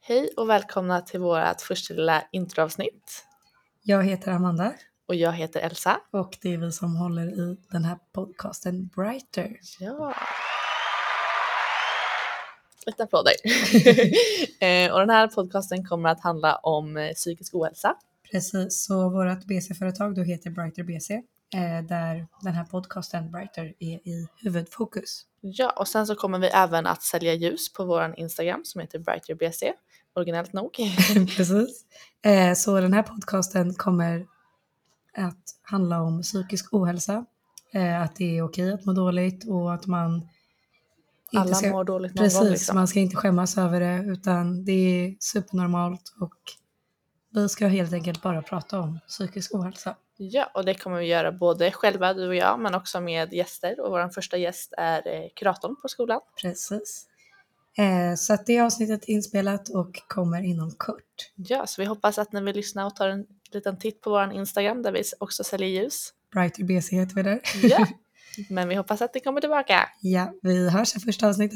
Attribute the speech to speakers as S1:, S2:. S1: Hej och välkomna till vårt första lilla introavsnitt.
S2: Jag heter Amanda
S1: Och jag heter Elsa.
S2: och det är vi som håller i den här podcasten Brighter.
S1: Ja. Lite applåder. Eh, och den här podcasten kommer att handla om eh, psykisk ohälsa.
S2: Precis, så vårt BC-företag då heter Brighter BC eh, där den här podcasten Brighter är i huvudfokus.
S1: Ja, och sen så kommer vi även att sälja ljus på vår Instagram som heter BrighterBC. Originellt nog.
S2: Precis. Eh, Så den här podcasten kommer att handla om psykisk ohälsa, eh, att det är okej att må dåligt och att man inte
S1: Alla
S2: ska-
S1: mår dåligt någon gång.
S2: Precis,
S1: Liksom.
S2: man ska inte skämmas över det utan det är supernormalt och vi ska helt enkelt bara prata om psykisk ohälsa.
S1: Ja, och det kommer vi göra både själva, du och jag, men också med gäster. Och vår första gäst är eh, kuratorn på skolan.
S2: Precis. Eh, så att det avsnittet är inspelat och kommer inom kort.
S1: Ja, så vi hoppas att när vi lyssnar och tar en liten titt på vår Instagram där vi också säljer ljus.
S2: Brighter BC heter vi där.
S1: Ja, men vi hoppas att ni kommer tillbaka.
S2: Ja, vi hörs i första avsnittet.